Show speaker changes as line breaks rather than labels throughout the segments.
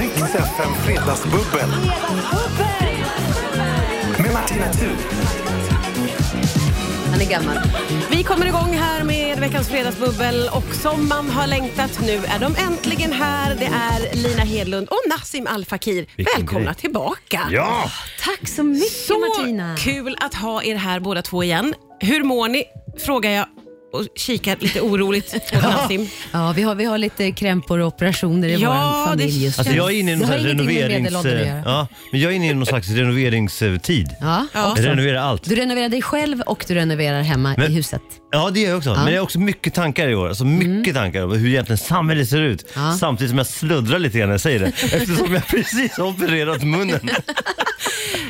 Riks FM Fredagsbubbel med Martina Thun.
Han är gammal. Vi kommer igång här med veckans fredagsbubbel och som man har längtat nu är de äntligen här. Det är Lina Hedlund och Nassim Al Fakir.
Vilken
Välkomna
grej.
tillbaka.
Ja!
Tack så mycket
Så
Martina.
kul att ha er här båda två igen. Hur mår ni? Frågar jag och kikar lite oroligt på Nassim.
Ja, vi har, vi har lite krämpor och operationer i
Ja,
vår familj
det
just nu.
Alltså jag är inne i någon
Det
sån
har
här
ingenting med
renoverings...
medelåldern att göra.
Ja, men jag är inne i någon slags renoveringstid.
Ja.
Ja.
Jag renoverar allt.
Du renoverar dig själv och du renoverar hemma
Men-
i huset.
Ja, det gör jag också. Men jag har också mycket tankar i år. Alltså mycket tankar om hur egentligen samhället ser ut.
Ja.
Samtidigt som jag sluddrar lite grann när jag säger det. Eftersom jag precis har opererat munnen.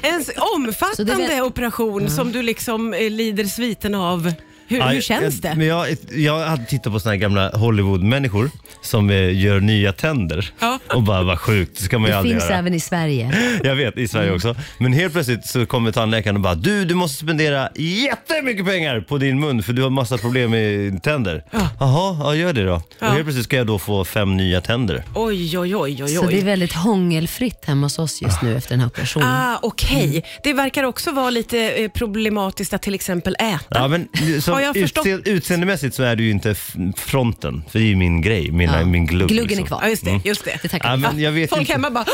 En s- omfattande
Så det är väl-
operation som du liksom eh, lider sviten av. Hur,
Ja,
hur känns
jag,
det?
Men jag, jag hade tittat på såna här gamla Hollywood-människor som eh, gör nya tänder.
Ja.
Och bara, vad sjukt, det ska man ju
Det
aldrig
finns
göra.
även i Sverige.
Jag vet, i Sverige också. Men helt plötsligt så kommer tandläkaren och bara du, du måste spendera jättemycket pengar på din mun för du har massa problem med tänder. Jaha, ja gör det då.
Ja.
Och helt plötsligt ska jag då få fem nya tänder.
Oj, oj, oj, oj,
Så det är
oj.
väldigt hångelfritt hemma hos oss just nu efter den här
Mm.
operationen.
Ah, Okej, det verkar också vara lite eh, problematiskt att till exempel äta.
Ja, men som
Har jag förstått-
utse- utseendemässigt så är du ju inte f- fronten, för det är ju min grej, mina, min glugg.
Gluggen
liksom.
är kvar.
Ja, just det. Just det.
Det tackar
Ja,
vi för.
men jag vet
Folk
inte.
hemma bara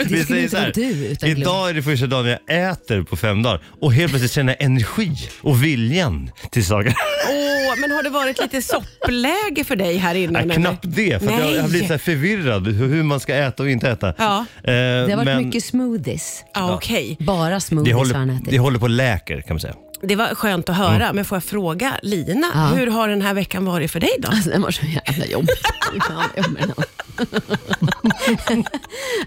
skulle
Vi säger
inte
så här,
vara du utan glögg.
Idag är det första dagen jag äter på fem dagar och helt plötsligt känner jag energi och viljan till saker.
Åh, men har det varit lite soppläge för dig här innan?
Nej,
eller?
knappt det, för att jag, jag har blivit så här förvirrad hur hur man ska äta och inte äta. Eh,
Ja.
Det har varit mycket smoothies.
Ja, okej.
Bara
det
smoothies har han
håller,
ätit.
det håller på läker kan man säga.
Det var skönt att höra,
Mm.
men får jag fråga Lina,
Ja.
hur har den här veckan varit för dig då?
Alltså, den var så jävla jobbig. Fy fan, vad jobbig den var.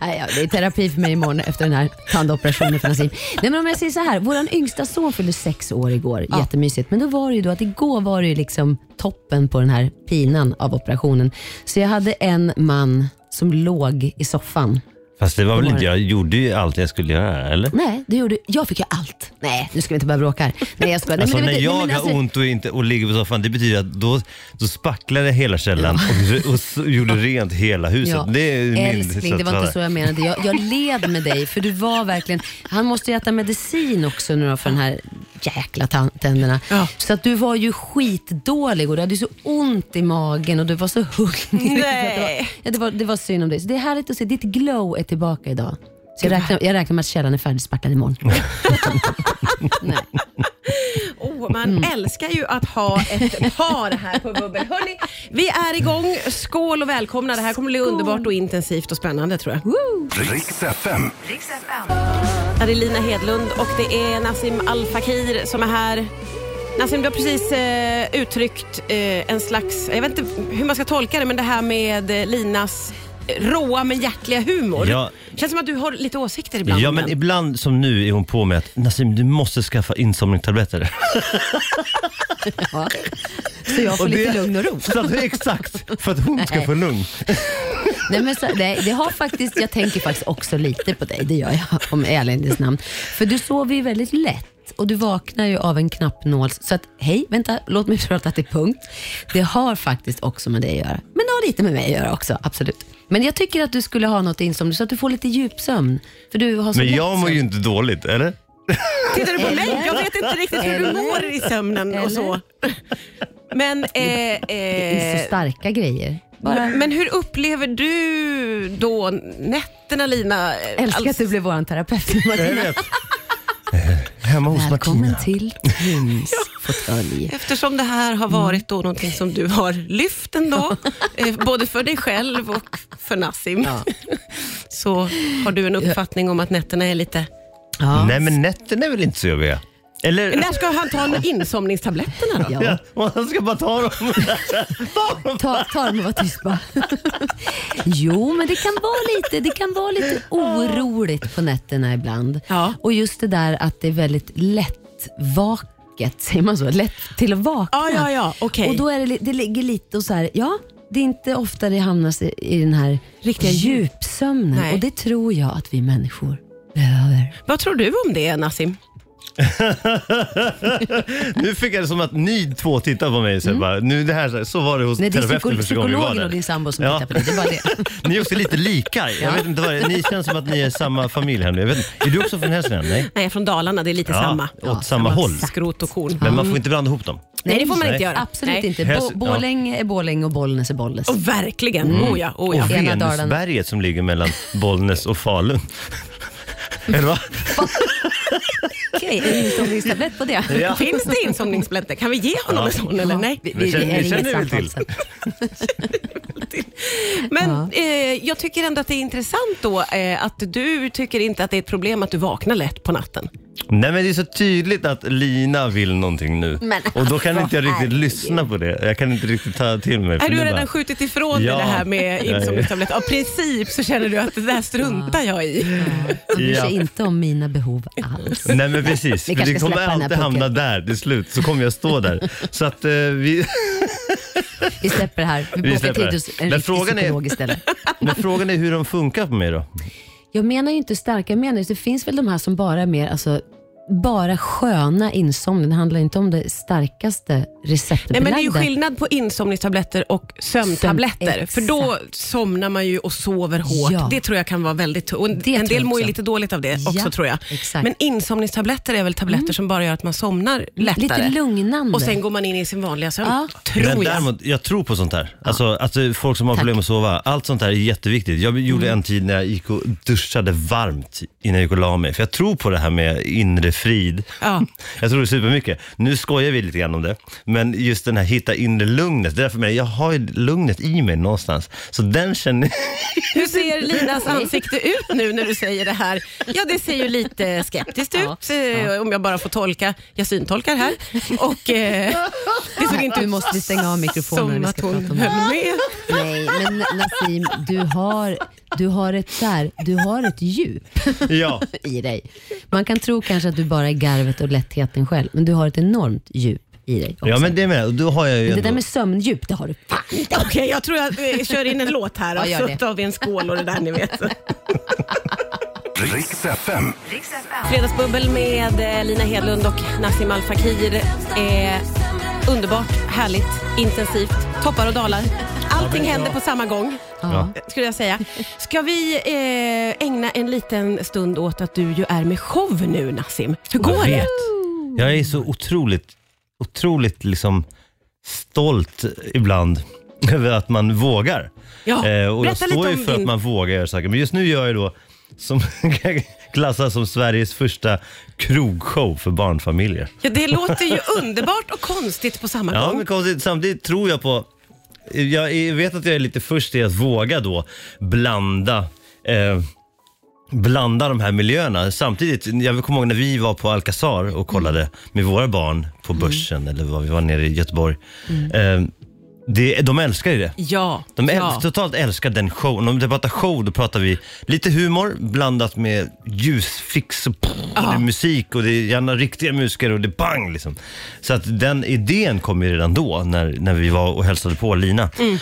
Nej, ja, det är terapi för mig imorgon efter den här tandoperationen för Nassim. Nej, men om jag säger så här, vår yngsta son fyllde sex år igår, jättemysigt. Men då var det ju då att igår var det ju liksom toppen på den här pinan av operationen. Så jag hade en man som låg i soffan.
Fast det var väl
var
inte,
det.
jag gjorde ju allt jag skulle göra eller?
Nej, det gjorde, jag fick ju allt. Nej, nu ska vi inte börja bråka här. Nej, jag skojar. Nej,
Alltså
men det-
när
nej,
jag
men alltså-
har ont och, inte, och ligger på soffan, det betyder att då, då spacklade jag hela källaren och, och s- gjorde rent hela huset.
Ja.
Det är min
Älskling, det var inte
sådär.
så jag menade. Jag, jag led med dig, för du var verkligen... Han måste ju äta medicin också nu då för den här jäkla tan- tänderna.
Ja.
Så att du var ju skitdålig och du hade så ont i magen och du var så hungrig.
Nej.
Så att Det, var, ja, det, var, det var synd om dig. Så det är härligt att se. Ditt glow är tillbaka idag. Så jag räknar, jag räknar med att källan är färdigspackad imorgon. Nej.
Oh, man
Mm.
älskar ju att ha ett par här på Bubbel. Hörrni, vi är igång. Skål och välkomna. Det här kommer bli underbart och intensivt och spännande tror jag.
Riks FM.
Här är Lina Hedlund och det är Nassim Al Fakir som är här. Nassim, du har precis eh, uttryckt eh, en slags, jag vet inte hur man ska tolka det, men det här med eh, Linas eh, råa men hjärtliga humor.
Ja.
Känns som att du har lite åsikter ibland.
Ja
om
men
den.
ibland som nu är hon på med att Nassim du måste skaffa insomningstabletter.
Ja. Så jag får
Och
lite
det-
lugn och ro.
Så att, exakt, för att hon ska få lugn.
Nej, men så, nej, det har faktiskt, jag tänker faktiskt också lite på dig, det gör jag om eländes namn. För du sover ju väldigt lätt och du vaknar ju av en knappnål. Så att, hej, vänta, låt mig prata till punkt. Det har faktiskt också med dig att göra. Men det har lite med mig att göra också, absolut. Men jag tycker att du skulle ha något insomning så att du får lite djupsömn. För du har så
Men
lätt
jag mår ju
sömn.
inte dåligt, eller?
Tittar du på mig? Jag vet inte riktigt hur du
Eller?
mår i sömnen och så. Men, eh,
Det är så
eh,
starka grejer. Bara
men hur upplever du då nätterna Lina?
älskar att
Alltså,
du blev vår terapeut.
Jag
Martina.
vet. Eh, Hemma hos
Välkommen
Martina.
till Tuns fåtölj.
Eftersom det här har varit då någonting som du har lyft ändå, eh, både för dig själv och för Nassim, så har du en uppfattning om att nätterna är lite...
Ja.
Nej men nätterna är väl inte så jobbiga? Eller?
När ska han ta insomningstabletterna då?
Ja.
Man ska bara ta dem. ta dem.
Ta, ta dem och var tyst bara. jo, men det kan vara lite, det kan vara lite oroligt på nätterna ibland.
Ja.
Och just det där att det är väldigt lätt vaket, säger man så? Lätt till att vakna.
Ja, ja, ja, okej.
Och då är det, li- det ligger lite och så här, ja, det är inte ofta det hamnas i, i den här
Riktiga
riktiga
djup.
djupsömnen.
Nej.
Och det tror jag att vi människor behöver.
Vad tror du om det Nassim?
nu fick jag det som att ni två tittar på mig. Så, bara, nu, det här, så var det hos
Mm. Nej, det är
terapeuten
psyko-
första gången vi var
psykologen
där.
och din sambo som
Ja.
tittar på dig. Det är bara det.
Ni är också lite lika. Jag vet inte vad det är. Ni känns som att ni är samma familj här nu. Jag vet inte. Är du också från Hälsingland? Nej?
Nej, från Dalarna. Det är lite
Ja,
samma.
åt samma håll.
Skrot och korn.
Men
Mm.
man får inte blanda ihop dem.
Nej, det får man
Nej.
inte göra.
Absolut
Nej.
inte.
Häls-
Bo-
ja.
Borlänge är Borlänge och Bollnäs är Bollnäs.
Och verkligen.
Mm.
Oh ja, oh ja.
Och
Ena Dalarna.
Venusberget som ligger mellan Bollnäs och Falun. Eller va?
Okej, en insomningstablett på det.
Ja.
Finns det insomningsblätter? Kan vi ge honom en sån eller nej?
Vi,
Men känner-
är
ni känner
inget
väl till?
samtal, så att-
Men eh, jag tycker ändå att det är intressant då eh, att du tycker inte att det är ett problem att du vaknar lätt på natten.
Nej men det är så tydligt att Lina vill någonting nu.
Men
och då kan
alltså,
inte jag riktigt
herregud.
lyssna på det. Jag kan inte riktigt ta till mig. för
Nej, du har
nu bara-
redan skjutit ifrån dig
Ja.
det här med insomningstablett. Av princip så känner du att det där struntar jag i.
Han bryr sig
Ja.
inte om mina behov alls.
Nej men precis,
Vi
för
kanske
det
ska
kommer
släppa den här
alltid hamna
pucken.
där till slut. Så kommer jag stå där. Så att eh, vi...
Vi släpper det här. Vi,
Vi
vi
släpper
till
det.
hos en
Men
riktig
frågan är-
psykolog istället.
Men frågan är hur de funkar på mig då.
Jag menar ju inte starka, jag menar just, det finns väl de här som bara är mer, alltså, bara sköna insomning. Det handlar inte om det starkaste
Nej,
receptbelagda.
men det är ju skillnad på insomningstabletter och sömntabletter.
Sömn-
för då somnar man ju och sover hårt.
Ja.
Det tror jag kan vara väldigt tu- och
tror
En
jag
del mår ju
också.
lite dåligt av det också
Ja,
tror jag.
exakt. Mm.
Men insomningstabletter är väl tabletter som bara gör att man somnar lättare.
Lite lugnande.
Och sen går man in i sin vanliga sömn.
Ja.
Tror
Men
jag.
däremot, jag tror på sånt här. Alltså att eh, folk som har
Tack.
problem att sova. Allt sånt här är jätteviktigt. Jag gjorde
Mm.
en tid när jag gick och duschade varmt innan jag gick och la mig. För jag tror på det här med inre frid.
Ja.
Jag tror det är supermycket. Nu skojar vi lite grann om det. Men just den här hitta inre lugnet. Det är för mig, jag har ju lugnet i mig någonstans. Så den känner
Hur ser Linas ansikte ut nu när du säger det här? Ja, det ser ju lite skeptiskt
Ja.
ut, eh, om jag bara får tolka. Jag syntolkar här. Och, eh, det såg inte
Du
ut
måste stänga av mikrofonen.
som
Vi
att
ska
hon
prata om
höll
det.
med.
Nej, men Nassim, du har, du har ett så här, du har ett djup
Ja.
i dig. Man kan tro kanske att du bara är garvet och lättheten själv, men du har ett enormt djup i dig också.
ja, men det med. Och Då har jag ju
det
ändå...
där med sömndjup, det har du fan inte.
Okej, jag tror jag eh, kör in en låt här och
Ja, gör
så
det.
tar vi en skål och det där ni vet.
Riks FM.
Fredagsbubbel med eh, Lina Hedlund och Nassim Al Fakir. är underbart, härligt, intensivt, toppar och dalar. Allting händer på samma gång. eh,
Ja.
skulle jag säga. Ska vi eh, ägna en liten stund åt att du ju är med show nu Nassim? Hur går
Jag
det?
vet. Jag är så otroligt, otroligt liksom stolt ibland över att man vågar.
Ja,
Eh, och jag
Ah, berätta lite
står ju
om
för
din-
att man vågar göra saker. Men just nu gör jag då, som klassas som Sveriges första krogshow för barnfamiljer.
Ja, det låter ju underbart och konstigt på samma
Ja,
gång.
men konstigt. Samtidigt tror jag på... Jag är- vet att jag är lite först i att våga då blanda eh, blanda de här miljöerna. Samtidigt, jag kommer ihåg när vi var på Alcazar och kollade med våra barn på börsen eller vad vi var nere i Göteborg. Eh, det, de älskar ju det.
Ja,
De äl-
ja.
totalt älskar den showen. Om vi pratar show, då pratar vi lite humor blandat med ljusfix och, pff, och det är musik och det är gärna riktiga musiker och det är bang liksom. Så att den idén kom ju redan då när, när vi var och hälsade på Lina
Mm.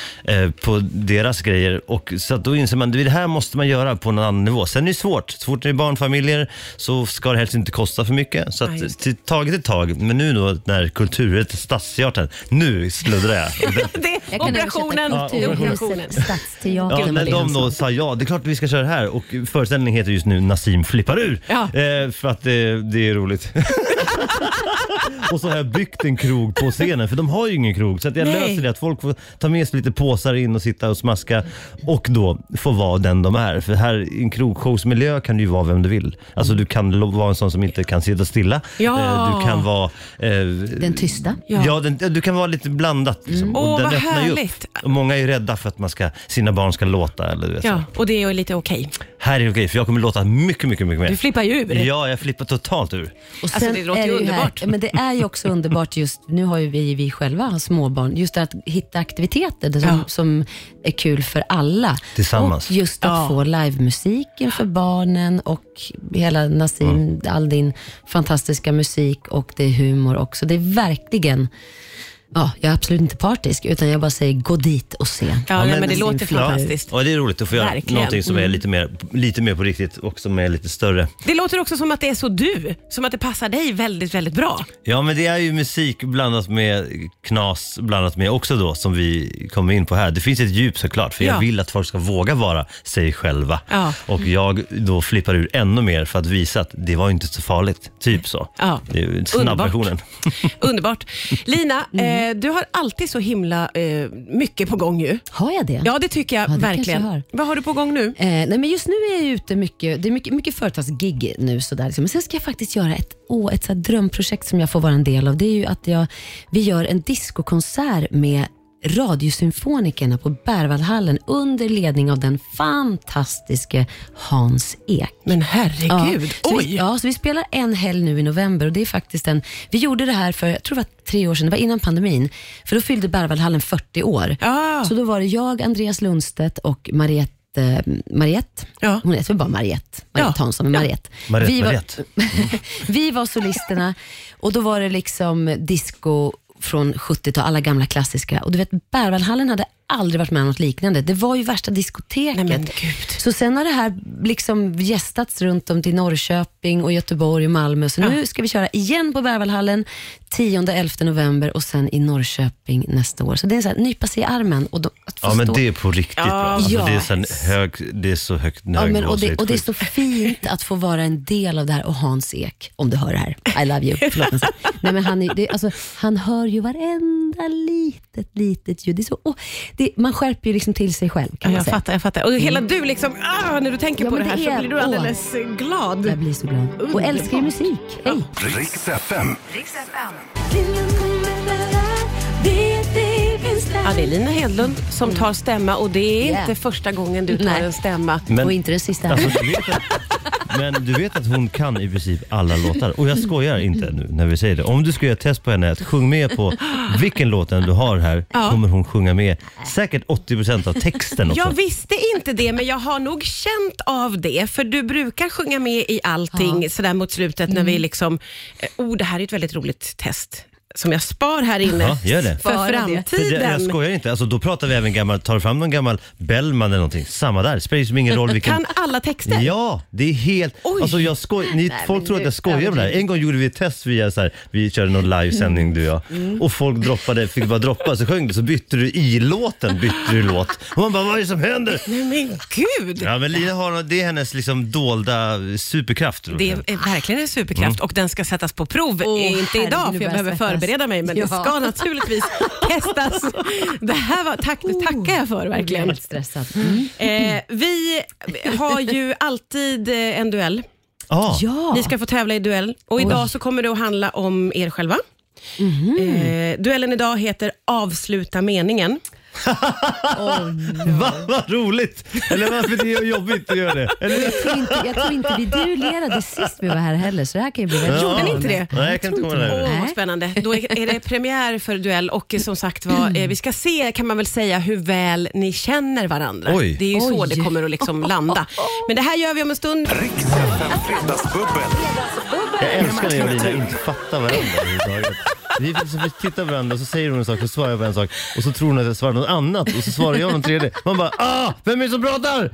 eh, på deras grejer. Och, så att då inser man det här måste man göra på någon annan nivå. Sen är det svårt. Så fort det är barnfamiljer så ska det helst inte kosta för mycket. Så
Ja,
att,
just
till, taget i tag. Men nu då när kulturrätt, stadsteatern, nu sluddrar jag.
Det är
Jag kan
operationen.
översätta
Det är operationen.
Kulturhuset, Stadsteatern.
Ja,
var
när
det
de
han sa.
då sa ja, det är klart att vi ska köra det här och föreställningen heter just nu Nassim flippar ur.
Ja.
Eh, för att eh, det är roligt. och så har jag byggt en krog på scenen för de har ju ingen krog. Så att jag
Nej.
löser det att folk får ta med sig lite påsar in och sitta och smaska och då få vara den de är. För här i en krogshowsmiljö kan du ju vara vem du vill. Alltså du kan lo- vara en sån som inte kan sitta stilla.
Ja.
Eh, du kan vara... Eh,
Den tysta.
Ja. Mm.
Ja, den, du kan vara lite blandat. Liksom.
Åh, vad
öppnar ju upp.
härligt.
Och många är ju rädda för att man ska, sina barn ska låta. Eller, du vet,
Ja,
så.
och det är ju lite okej.
Här är det okej, för jag kommer låta mycket, mycket, mycket mer.
Du flippar ju ur.
Ja, jag flippar totalt ur.
Och
Alltså, det låter ju
är här-
underbart.
men det är ju också underbart just, nu har ju vi, vi själva har småbarn, just att hitta aktiviteter som,
Ja.
som är kul för alla.
Tillsammans.
Och just att
Ja.
få livemusiken för barnen och hela Nassim, all din fantastiska musik och det är humor också. Det är verkligen Ja, jag är absolut inte partisk, utan jag bara säger gå dit och se.
Ja, nej, men, det låter
Ja.
fantastiskt.
Ja, och det är roligt att få göra
Verkligen. Mm.
någonting som är lite mer, lite mer på riktigt och som är lite större.
Det låter också som att det är så du, som att det passar dig väldigt, väldigt bra.
Ja, men det är ju musik blandat med knas, blandat med också då som vi kommer in på här. Det finns ett djup såklart, för
Ja.
jag vill att folk ska våga vara sig själva.
Ja.
Och jag då flippar ur ännu mer för att visa att det var inte så farligt. Typ så.
Ja.
Det är ju snabbversionen.
Underbart. Lina,
Mm.
eh, du har alltid så himla eh, mycket på gång ju.
Har jag det?
Ja, det tycker jag
Ja, det kanske
verkligen.
jag har.
Vad har du på gång nu?
Eh, nej men just nu är jag ute mycket, det är mycket, mycket företagsgig nu sådär. Liksom. Men sen ska jag faktiskt göra ett, åh, ett så här drömprojekt som jag får vara en del av. Det är ju att jag, vi gör en discokonsert med Radiosymfonikerna på Berwaldhallen under ledning av den fantastiske Hans Ek.
Men herregud,
Så
oj!
Vi, ja, så vi spelar en helg nu i november och det är faktiskt en, vi gjorde det här för, jag tror det var tre år sedan, det var innan pandemin, för då fyllde Berwaldhallen 40 år.
Ah.
Så då var det jag, Andreas Lundstedt och Mariette, eh, Mariette?
Ja.
hon heter väl bara Mariette, Mariette
Ja.
Hansson, men
Ja.
Mariette.
Mariette,
vi, var,
Mariette.
vi var solisterna och då var det liksom disco från 70-talet, alla gamla klassiska. Och du vet, Berwaldhallen hade aldrig varit med om något liknande. Det var ju värsta diskoteket.
Nej, men gud.
Så sen har det här liksom gästats runt om till Norrköping, och Göteborg och Malmö. Så nu ska vi köra igen på Berwaldhallen 10-11 november och sen i Norrköping nästa år. Så det är så här, nypa sig i armen. Och då, att få
Ja, men
stå.
det är på riktigt bra. Alltså,
Ja.
det, är så en hög, det är så högt
Ja,
hög
men, och,
nivå, så
det, och det är
sjukt.
så fint att få vara en del av det här. Och Hans Ek, om du hör det här. I love you. Förlåt, men så- Nej, men han, är, det, är- alltså, han hör ju varenda litet, litet ljud. Det är så, åh, det, man skärper ju liksom till sig själv kan
Ja,
man
jag
säga.
fattar, jag fattar. Och hela du liksom, ah, när du tänker
Mm.
på det
Ja, men
här
det
så
är-
blir du alldeles eh, glad.
Jag blir så glad. Och älskar ju musik. Hej.
Riks FM.
Ja, det är Lina Hedlund som tar stämma och det är
Yeah.
inte första gången du tar
Nej.
en stämma.
Men-
Och inte den sista.
Alltså, du vet att, men du vet att hon kan i princip alla låtar. Och jag skojar inte nu när vi säger det. Om du ska göra ett test på henne, att sjung med på vilken låt än du har här, kommer hon sjunga med säkert 80% av texten också.
Jag visste inte det, men jag har nog känt av det. För du brukar sjunga med i allting sådär mot slutet när
Mm.
vi liksom... eh, Oh, det här är ett väldigt roligt test som jag spar här inne
Ja, gör det.
för
Spara det.
För det, jag
framtiden.
skojar inte. Alltså, då pratar vi även gammal, tar du fram någon gammal Bellman eller någonting, samma där. Spelar ju som ingen roll vilken...
Kan alla texter?
Ja, det är helt...
Oj.
Alltså jag skoj, ni, folk tror att jag skojar med det här. En gång gjorde vi ett test via så här, vi körde någon livesändning du och jag.
Mm.
Och folk droppade, fick bara droppa, så sjöng du, så bytte du i låten, bytte du låt. Och man bara, vad är det som händer?
Nej, men gud!
Ja men Lina har, det är hennes liksom dolda superkraft. tror
Det
jag.
är verkligen en superkraft
Mm.
och den ska sättas på prov.
Åh,
Eh, inte
herregud,
idag för
nu börjar
jag
jag
behöver
svettas.
förbereda mig men det
Ja.
ska naturligtvis testas. Det här var, tack,
Oh.
det tackar jag för
Jag blir
verkligen.
helt stressad.
Mm.
Eh, vi har ju alltid eh, en duell.
Ja.
Ja.
Ni ska få tävla i duell och idag så kommer det att handla om er själva. Eh, duellen idag heter Avsluta meningen.
Va, vad roligt! Eller varför det är jobbigt att göra det? Eller,
Jag tror, inte, jag tror inte vi duellerade sist vi var här heller, så det här kan ju bli väldigt
Gjorde
ni
bra.
inte det?
Nej, jag kan inte
tror
komma
Åh,
ihåg
det.
vad spännande. Då är är det premiär för duell och eh, som sagt var, eh, vi ska se kan man väl säga hur väl ni känner varandra.
Oj.
Det är ju så
Oj.
det kommer att liksom landa. Men det här gör vi om en stund.
Riks FM Fredagsbubbel.
Jag älskar när jag och Lina inte fattar varandra överhuvudtaget. Vi får- så vi tittar på varandra och så säger hon en sak och så svarar jag på en sak och så tror hon att jag svarar något annat och så svarar jag något tredje. Man bara ah, vem är det som pratar?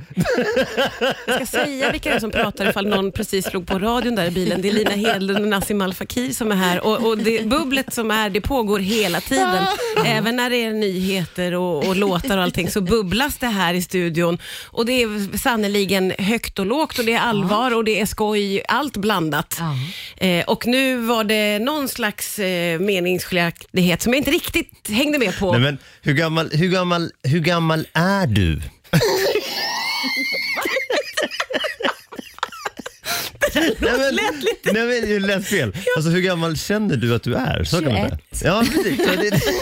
Jag ska säga vilka det är som pratar ifall någon precis slog på radion där i bilen. Det är Lina Hedlund och Nassim Al Fakir som är här och, och det bubblet som är, det pågår hela tiden. Även när det är nyheter och, och låtar och allting så bubblas det här i studion och det är sannerligen högt och lågt och det är allvar och det är skoj, allt blandat. Eh, och nu var det någon slags eh, meningsskiljaktighet som jag inte riktigt hängde med på.
Nej men hur gammal, hur gammal, hur gammal är du? Nej men, nej men det lät fel. Alltså hur gammal känner du att du är? Så kan man säga.
21.
Ja precis. Så det,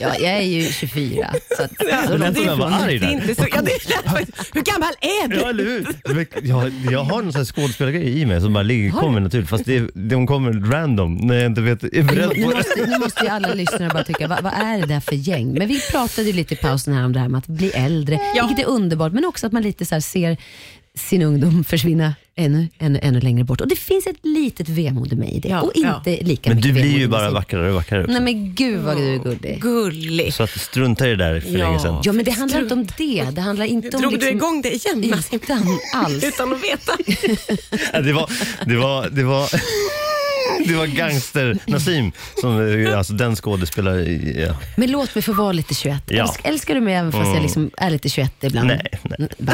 Ja, jag är ju 24. Så att, så
det lät som jag var arg
det är
där.
inte så, ja, det lät, faktiskt- hur gammal är du?
Ja, eller hur? Men Jag, jag har någon sån här skådespelargrej i mig som bara ligger, kommer naturligt fast det, det, hon kommer random när jag inte vet, är beredd
Nu
på det.
måste, nu måste ju alla lyssnare bara tycka, vad, vad är det där för gäng? Men vi pratade ju lite i pausen här om det här med att bli äldre,
Ja.
vilket är underbart, men också att man lite så här ser sin ungdom försvinna ännu, ännu, ännu längre bort. Och det finns ett litet vemod i mig i det.
Ja,
och
ja.
inte lika
Men
mycket
du blir
vemod
ju
i
bara
musik.
vackrare och vackrare också.
Nej men gud vad du är gullig.
Gullig.
Så att strunta i det där för
Ja.
länge sedan.
Ja men det handlar inte om det. Det handlar inte om
Drog du
liksom,
igång det igen Nassim?
Inte alls.
Utan att veta.
Ja, Det var, det var, det var, det var gangster Nassim, som, eh, alltså den skådespelare, i- ja.
Men låt mig få vara lite 21.
Ja. Mm.
Älsk, älskar du mig även fast jag liksom är lite 21 ibland?
Nej, nej.
Va?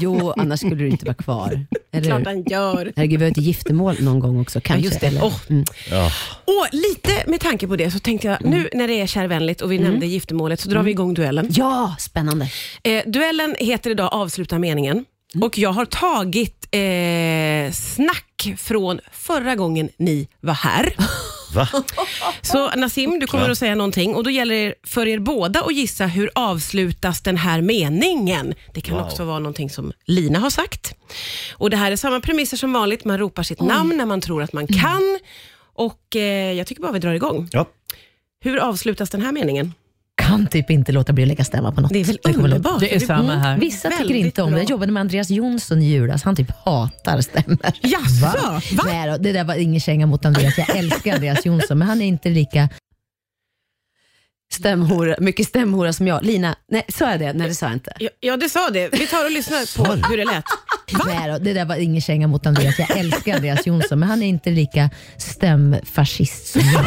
jo, annars skulle du inte vara kvar. Eller
Klart
hur?
han gör.
Herregud, vi har ett giftermål någon gång också. Kanske.
just det.
Eller,
Åh.
mm.
ja.
Och lite med tanke på det så tänkte jag,
Mm.
nu när det är kärvänligt och vi nämnde giftermålet så drar vi igång duellen.
Ja, spännande.
Eh, duellen heter idag Avsluta meningen
Mm.
och jag har tagit eh, snack från förra gången ni var här.
Va?
Så Nassim, du kommer
Ja.
att säga någonting och då gäller det för er båda att gissa hur avslutas den här meningen. Det kan
Wow.
också vara någonting som Lina har sagt. Och Det här är samma premisser som vanligt. Man ropar sitt namn när man tror att man kan. Och eh, Jag tycker bara vi drar igång.
Ja.
Hur avslutas den här meningen?
kan typ inte låta bli att lägga stämma på något.
Det är väl
Jag kommer
underbart?
låta- Det är samma här.
Mm.
Vissa tycker
Väldigt
inte om det.
bra.
Jag jobbade med Andreas Jonsson i julas. Han typ hatar stämmor.
Jaså?
Va?
Va?
Nej då, det där var ingen känga mot Andreas. Jag älskar Andreas Jonsson, men han är inte lika...
Stämhora, mycket stämhora som jag. Lina, nej, så är det. Nej, det sa jag inte.
Ja, ja, det sa det. Vi tar och lyssnar på hur det lät.
Nej då, det där var ingen känga mot Andreas. Jag älskar Andreas Jonsson, men han är inte lika stämfascist som jag.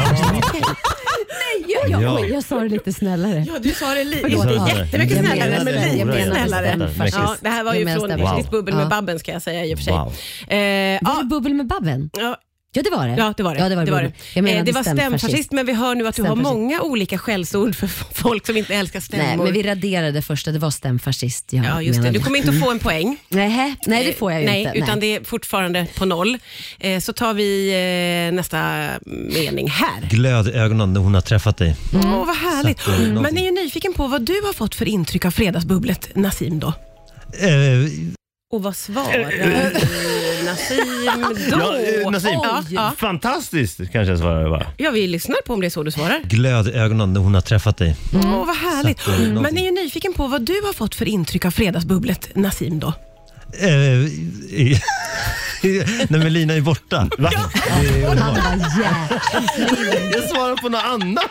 Jag,
Ja.
oj, jag sa det lite snällare.
Ja, du sa det lite
Förlåt.
jättemycket
Jag
snällare,
menade
men lite
stora, jag menade
snällare.
stora.
Ja, det här var ju
Jag menar
från
stora.
Ditt bubbel med
Ja.
Babben ska jag säga i och för sig.
Wow.
Eh,
Var
ja,
det bubbel med Babben?
ja,
Ja, det var det.
Ja, det var det.
Ja, det var,
det, var
bubbel.
det.
Jag
Eh,
menade
det var
stämfascist.
stämfascist, men vi hör nu att du har
Stämfascist.
många olika skällsord för f- folk som inte älskar stämmor.
Nej, men vi raderade det första. Det var stämfascist jag
Ja, just det.
menade.
Du kommer inte att få en poäng.
Nej, nej, det får jag ju
Nej,
inte.
utan det är fortfarande på noll. Eh, Så tar vi eh, nästa mening här.
Glöd i ögonen när hon har träffat dig.
Åh,
Mm.
vad härligt.
Så att, eh, någonting-
Men ni är nyfiken på vad du har fått för intryck av fredagsbubblet, Nassim då?
Eh,
Och vad svarar Nassim då?
Ja, eh, Nassim,
eh. Ja, ja.
fantastiskt kanske jag svarar bara.
ja, vi lyssnar på om det är så du svarar.
Glöd i ögonen när hon har träffat dig.
Åh, vad härligt.
Så att, eh, någonting-
Men ni är nyfiken på vad du har fått för intryck av fredagsbubblet, Nassim då?
Eh, Nej men Lina är borta. Va?
Han var jävla...
Jag svarar på något annat.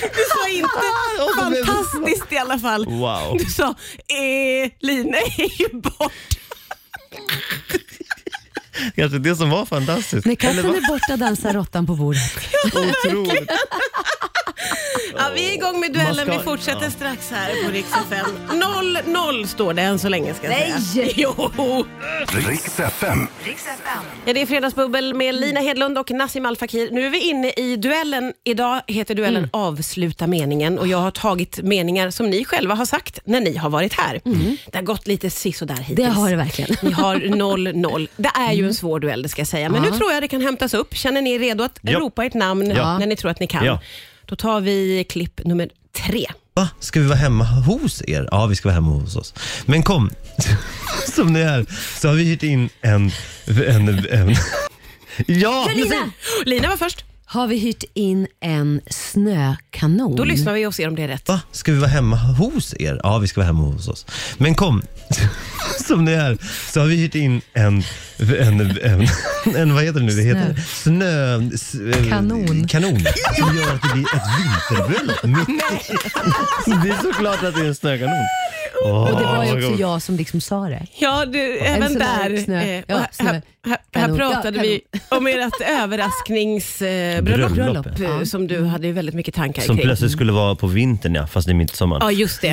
Du sa inte
och så blev det-
fantastiskt i alla fall.
Wow.
Du sa, eh, Lina är ju bort.
Kanske det som var fantastiskt.
När katten
Eller vad?
är borta dansar råttan på bordet.
Otroligt.
Ja, vi är igång med duellen,
Man ska-
vi fortsätter strax här på Rix FM. 0-0 står det än så länge ska jag säga. Nej! Jo!
Riks FM.
Ja, det är Fredagsbubbel
Mm.
med Lina Hedlund och Nassim Al Fakir. Nu är vi inne i duellen. Idag heter duellen
Mm.
Avsluta meningen och jag har tagit meningar som ni själva har sagt när ni har varit här. Mm. Det har gått lite sisådär hittills.
Mm. Det har det verkligen.
Ni
Mm.
har 0-0. Det är ju en svår duell, det ska jag säga. Men nu tror jag det kan hämtas upp. Känner ni er redo att
Ja.
ropa ert namn
Ja.
när ni tror att ni kan?
Ja.
Då tar vi klipp nummer tre.
Va? Ska vi vara hemma hos er? Ja, vi ska vara hemma hos oss. Men kom, som ni är, så har vi hyrt in en... en, en. Ja!
Lina!
Lina var först.
Har vi hyrt in en snökanon?
Då
Mm.
lyssnar vi och ser om det är rätt.
Va? Ska vi vara hemma hos er? Ja, vi ska vara hemma hos oss. Men kom, som ni är, så har vi hyrt in en... En, en, en vad heter det nu? Det heter snö... s- eh,
Kanon.
Kanon. Som gör att det blir ett vinterbröllop mitt i. Det är såklart att det är en snökanon. Åh,
Och det var ju
vad
också
gott.
jag som liksom sa det.
Ja, du, även
sån där
där.
snö.
eh, och
Ja,
här,
snö.
här, här, här
Kanon.
pratade
Ja,
vi om ert överraskningsbröllop eh,
Bröllop,
bröllop,
ja.
eh, som du hade ju väldigt mycket tankar
Som
kring.
plötsligt skulle vara på vintern ja, fast det är mitt i sommaren.
Ja, just det.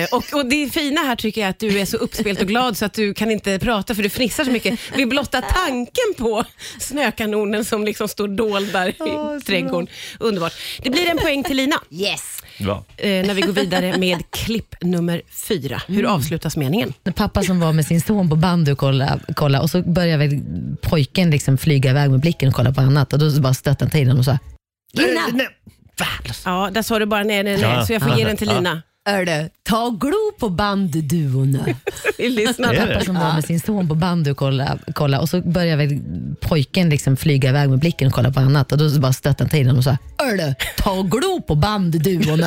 Eh, och, och det fina här tycker jag är att du är så uppspelt och glad så att du kan inte prata för du fnissar så mycket vid blotta tanken på snökanonen som liksom står dold där i trädgården. Underbart. Det blir en poäng till Lina
Yes!
Bra.
eh, när vi går vidare med klipp nummer fyra. Hur avslutas meningen?
Pappa som var med sin son på bandy och kolla, kolla och så började väl pojken liksom flyga iväg med blicken och kolla på annat och då bara stötte han till honom och sa
Eh, nej.
Ja, där sa du bara nej, nej, nej,
Ja.
så jag får ge den till
Ja.
Lina.
Hörru, ta och glo på bandduon.
Vi lyssnar.
Är
pappa
det?
som var med sin son på bandy och kolla, kolla och så började väl pojken liksom flyga iväg med blicken och kolla på annat och då bara stötte han till honom och sa Hörru, ta och glo på bandyduon.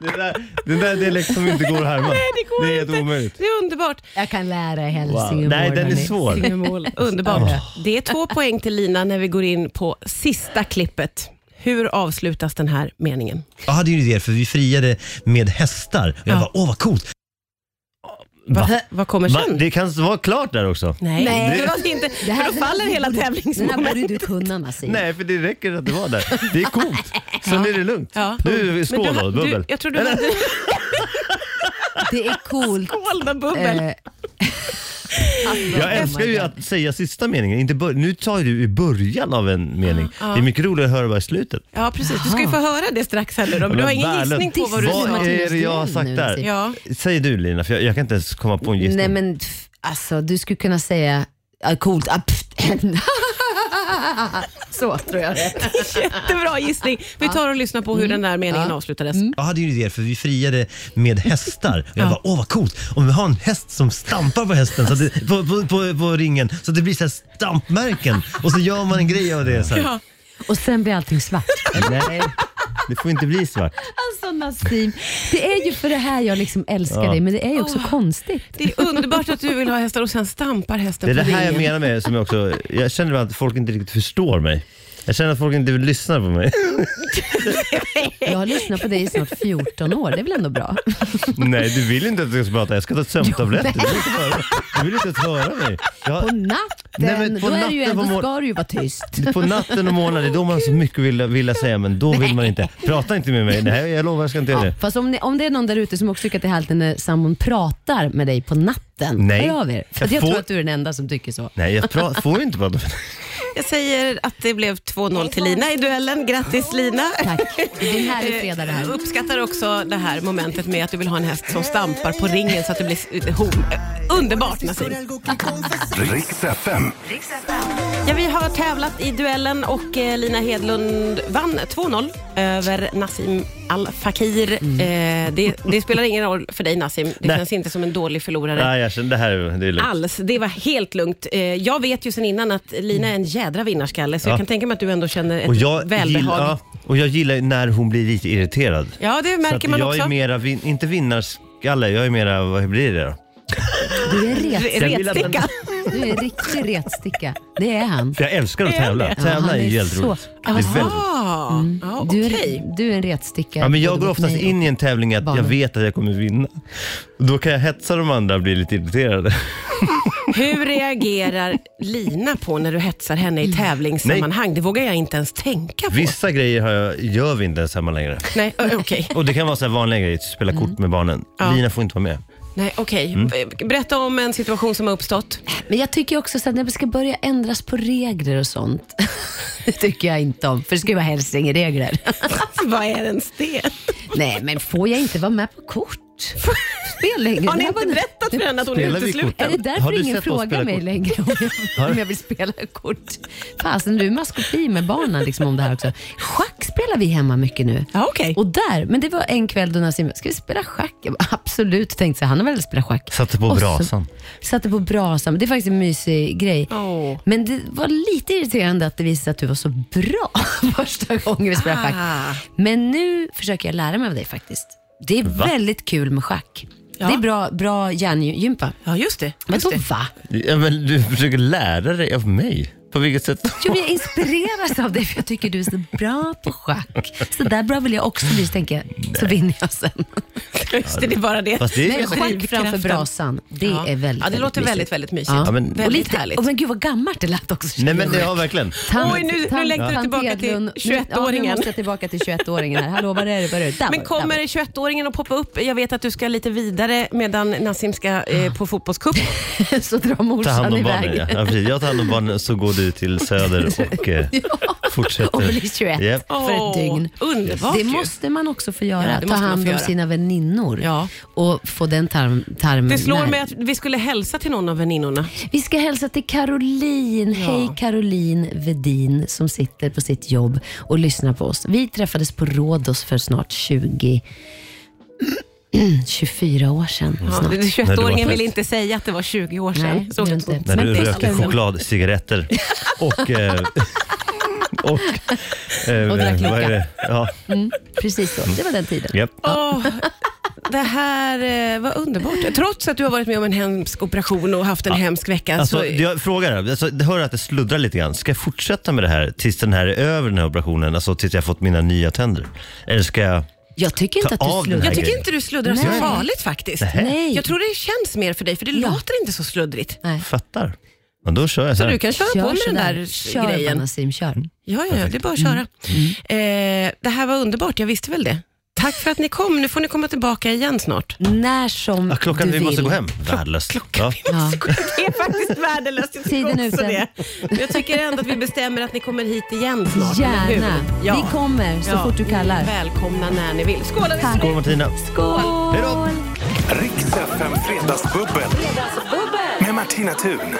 Det där, den där dialekten som inte går att härma.
Nej, det går
det är helt
inte.
omöjligt.
Det är underbart.
Jag kan lära er
Wow.
hälsingemål.
Nej, den är
hörni.
svår.
Singelmål. Underbart. Det är två poäng till Lina när vi går in på sista klippet. Hur avslutas den här meningen?
Jag hade ju en idé för vi friade med hästar. Och jag
Ja.
bara, åh vad coolt.
Va?
Vad kommer
Va?
sen?
Det kan vara klart där också.
Nej,
Nej.
det var inte.
Det här-
För då faller hela
Den här borde
tävlingsmomentet.
du kunna Nassim.
Nej, för det räcker att det var där. Det är coolt. Sen är det lugnt.
Ja.
Nu,
Men
skål
du,
då,
ha-
bubbel.
Du, jag tror du hade
Det är coolt.
skål med bubbel.
Eh,
Oh
Jag älskar ju att säga sista meningen. Inte bör- nu tar ju du i början av en mening. Det är mycket roligare att höra bara i slutet.
Ja, precis. Du ska ju få höra det strax här nu då, men du har ingen gissning på vad du
Vad
sa.
är-
är det jag har
nu,
sagt där?
Nassim?
Ja.
Säg du Lina, för jag, jag kan inte ens komma på en gissning.
Nej men pff, alltså du skulle kunna säga ah, coolt. Ah, pff. Så tror jag det är.
Jättebra gissning. Vi tar och lyssnar på hur
Mm.
den där meningen avslutades.
Jag hade ju en idé för vi friade med hästar. Och jag bara, åh vad coolt. Om vi har en häst som stampar på hästen, så att det, på, på, på, på ringen, så att det blir så här stampmärken. Och så gör man en grej av det. Så här.
Ja.
Och sen blir allting svart.
Nej, det får inte bli svart.
Alltså Nassim, det är ju för det här jag liksom älskar dig men det är ju också konstigt.
Det är underbart att du vill ha hästar och sen stampar hästen
Det är det
på
här jag
ringen.
menar med som jag också, jag känner att folk inte riktigt förstår mig. Jag känner att folk inte vill lyssna på mig.
Jag har lyssnat på dig i snart 14 år, det är väl ändå bra?
Nej, du vill inte att jag ska prata. Jag ska ta sömntabletter. Du vill inte höra- Du vill inte ens höra mig.
På
Jag,
natten,
Nej, men på
då, är det ju
natten på
ändå,
mor-
ska du ju vara tyst.
på natten och morgonen, det är då man har så mycket att vilja, vilja säga, men då vill man inte. Prata inte med mig. Nej, jag lovar, jag ska inte göra det.
Fast om, ni, om det är någon där ute som också tycker att det är härligt när sambon pratar med dig på natten,
Nej.
hör av er. För jag,
Jag
jag
får-
tror att du är den enda som tycker så.
Nej, jag pra- får ju inte prata med dig.
Jag säger att det blev 2-0 till Lina i duellen. Grattis Lina! Eh,
Tack. Det är en härlig fredag det här.
Jag uppskattar också det här momentet med att du vill ha en häst som stampar på ringen så att det blir s- hon. Underbart Nassim!
Riks FM.
Ja, vi har tävlat i duellen och eh, Lina Hedlund vann 2-0 över Nassim Al Fakir. Eh, det, det spelar ingen roll för dig Nassim, det
Mm. Nej.
känns inte som en dålig förlorare.
Nej, jag känner det här är- det är lugnt.
Alls, det var helt lugnt. Eh, Jag vet ju sen innan att Lina är en jädra vinnarskalle så jag kan tänka mig att du ändå känner ett
Och jag,
välbehag.
gillar, ja, och jag gillar ju när hon blir lite irriterad.
Ja, det
Så
märker
att
man
jag
också.
är mera, vin- inte vinnarskalle, jag är mera, vad blir det då?
Du är, ret,
Re-
Jag vill att-
Retsticka.
du är en riktig retsticka. Det är han.
För jag älskar att tävla.
Ja, han
Tävla är
är
ju helt
så-
roligt. Det är väldigt roligt.
Ah, ja,
Mm. Du
okej.
är, du är en retsticka.
Ja, men jag
både
går
mot
oftast
mig och-
in i en tävling att jag
barnen.
vet att jag kommer vinna. Och Då kan jag hetsa de andra och bli lite irriterade.
Hur reagerar Lina på när du hetsar henne
Mm.
i tävlingssammanhang? Det vågar jag inte ens tänka på.
Vissa grejer har jag, gör vi inte ens hemma längre.
Nej, ö- okej.
Och Det kan vara så här vanliga grejer, typ spela kort med barnen. Lina får inte vara med.
Nej, okej.
Mm.
B- Berätta om en situation som har uppstått.
Men jag tycker också så att när det ska börja ändras på regler och sånt. det tycker jag inte om, för det ska ju vara hälsingeregler.
Vad är ens det?
Nej, men får jag inte vara med på kort? Spel längre.
Har ni
Det här
inte
var-
berättat för henne att hon är
Spelar vi
utesluten?
Är det
Har du
därför ingen
sett oss spela
frågar mig
kort?
längre om jag, om jag vill spela kort? Fasen, du är maskopi med barnen liksom om det här också. Schack spelar vi hemma mycket nu.
Ja, okej.
Och där, men det var en kväll då Nassim ska vi spela schack? Jag bara, absolut, tänkte så här, han har väl spelat schack.
Satte på
Och så-
brasan.
Satte på brasan, det är faktiskt en mysig grej.
Åh.
Men det var lite irriterande att det visade sig att du var så bra första gången vi spelade
Ah.
schack. Men nu försöker jag lära mig av dig faktiskt. Det är väldigt kul med schack.
Ja.
Det är bra, bra hjärngympa.
Ja, just det.
Men
Just
då
det.
va?
Ja, men du försöker lära dig av mig. På vilket sätt?
Jo, men jag inspireras av dig för jag tycker du är så bra på schack. Så där bra vill jag också bli, så tänker jag. Så vinner jag sen.
Just det, det är bara det.
Fast det är-
Men schack framför
Drivkraften.
brasan, det
Ja.
är väldigt
Ja, det låter väldigt,
mysigt.
väldigt mysigt.
Ja.
men-
Och
Väldigt
lite,
härligt.
och men gud vad gammalt det lät också.
Nej men ja, verkligen.
Tant-
Oj, nu- nu
tant-
längtar du
tant
tillbaka till
Edlund. Nu-
21-åringen.
Ja, nu måste jag tillbaka till 21-åringen här. Hallå, vad är det? Vad är det?
Men
Där var- där var-
kommer 21-åringen att poppa upp? Jag vet att du ska lite vidare medan Nassim ska
Ah.
eh, på fotbollscup.
så drar
Ta hand
morsan
om
iväg.
barnen. Ja. Ja, precis. jag tar hand om barnen så går du till Söder och eh, fortsätter.
Och blir 21
Japp.
för
Åh,
ett dygn.
underbart
det
ju.
måste man också få
Ja, det
göra.
måste
Ta
man
hand
få
om
göra.
sina väninnor
Ja.
och få den tarm, tarmen
Det slår
när.
mig att vi skulle hälsa till någon av väninnorna.
Vi ska hälsa till Caroline. Hej Caroline Vedin som sitter på sitt jobb och lyssnar på oss. Vi träffades på Rhodos för snart 20... 24 år sedan.
Ja,
snart.
det-
Nej, det
21-åringen
var
vill
fest.
inte säga att det var 20 år sedan.
Nej,
Så-
det är inte.
När
Men
du
det är
röker
spännande.
chokladcigaretter och eh, och... Eh,
Och drack
vad är
Loka.
det? Ja,
Precis så, det var den tiden.
japp.
Åh, det här eh, var underbart. Trots att du har varit med om en hemsk operation och haft en hemsk vecka.
Alltså,
så...
jag frågar dig, alltså, det hör att det sluddrar lite grann. Ska jag fortsätta med det här tills den här är över, den här operationen? Alltså tills jag har fått mina nya tänder? Eller ska jag...
Jag tycker
Ta
inte att
av
du
den här
sluddar.
Jag tycker
grejen.
inte du sluddrar så
Nej.
farligt faktiskt.
Nej.
Jag tror det känns mer för dig, för det låter inte så sluddrigt.
Fattar. Ja, då kör jag så
Så
här.
du kan köra på med den
sådär.
där
kör, Mm.
grejen.
Nassim, kör.
Ja, ja, ja, det är bara att köra. Eh, det här var underbart, jag visste väl det. Tack för att ni kom, nu får ni komma tillbaka igen snart.
När som
Ja, klockan,
du
vi
vill.
måste gå hem. Värdelöst. Ja.
Ja.
Det är faktiskt värdelöst. Jag tycker
Tiden är
också
ute.
det. Jag tycker ändå att vi bestämmer att ni kommer hit igen snart. eller hur?
Gärna. Vi kommer så
Ja.
fort du kallar.
Välkomna när ni vill. Skål! Tack.
Skål Martina.
Skål!
Hej då.
Riks FM Fredagsbubbel. Med Martina Thun.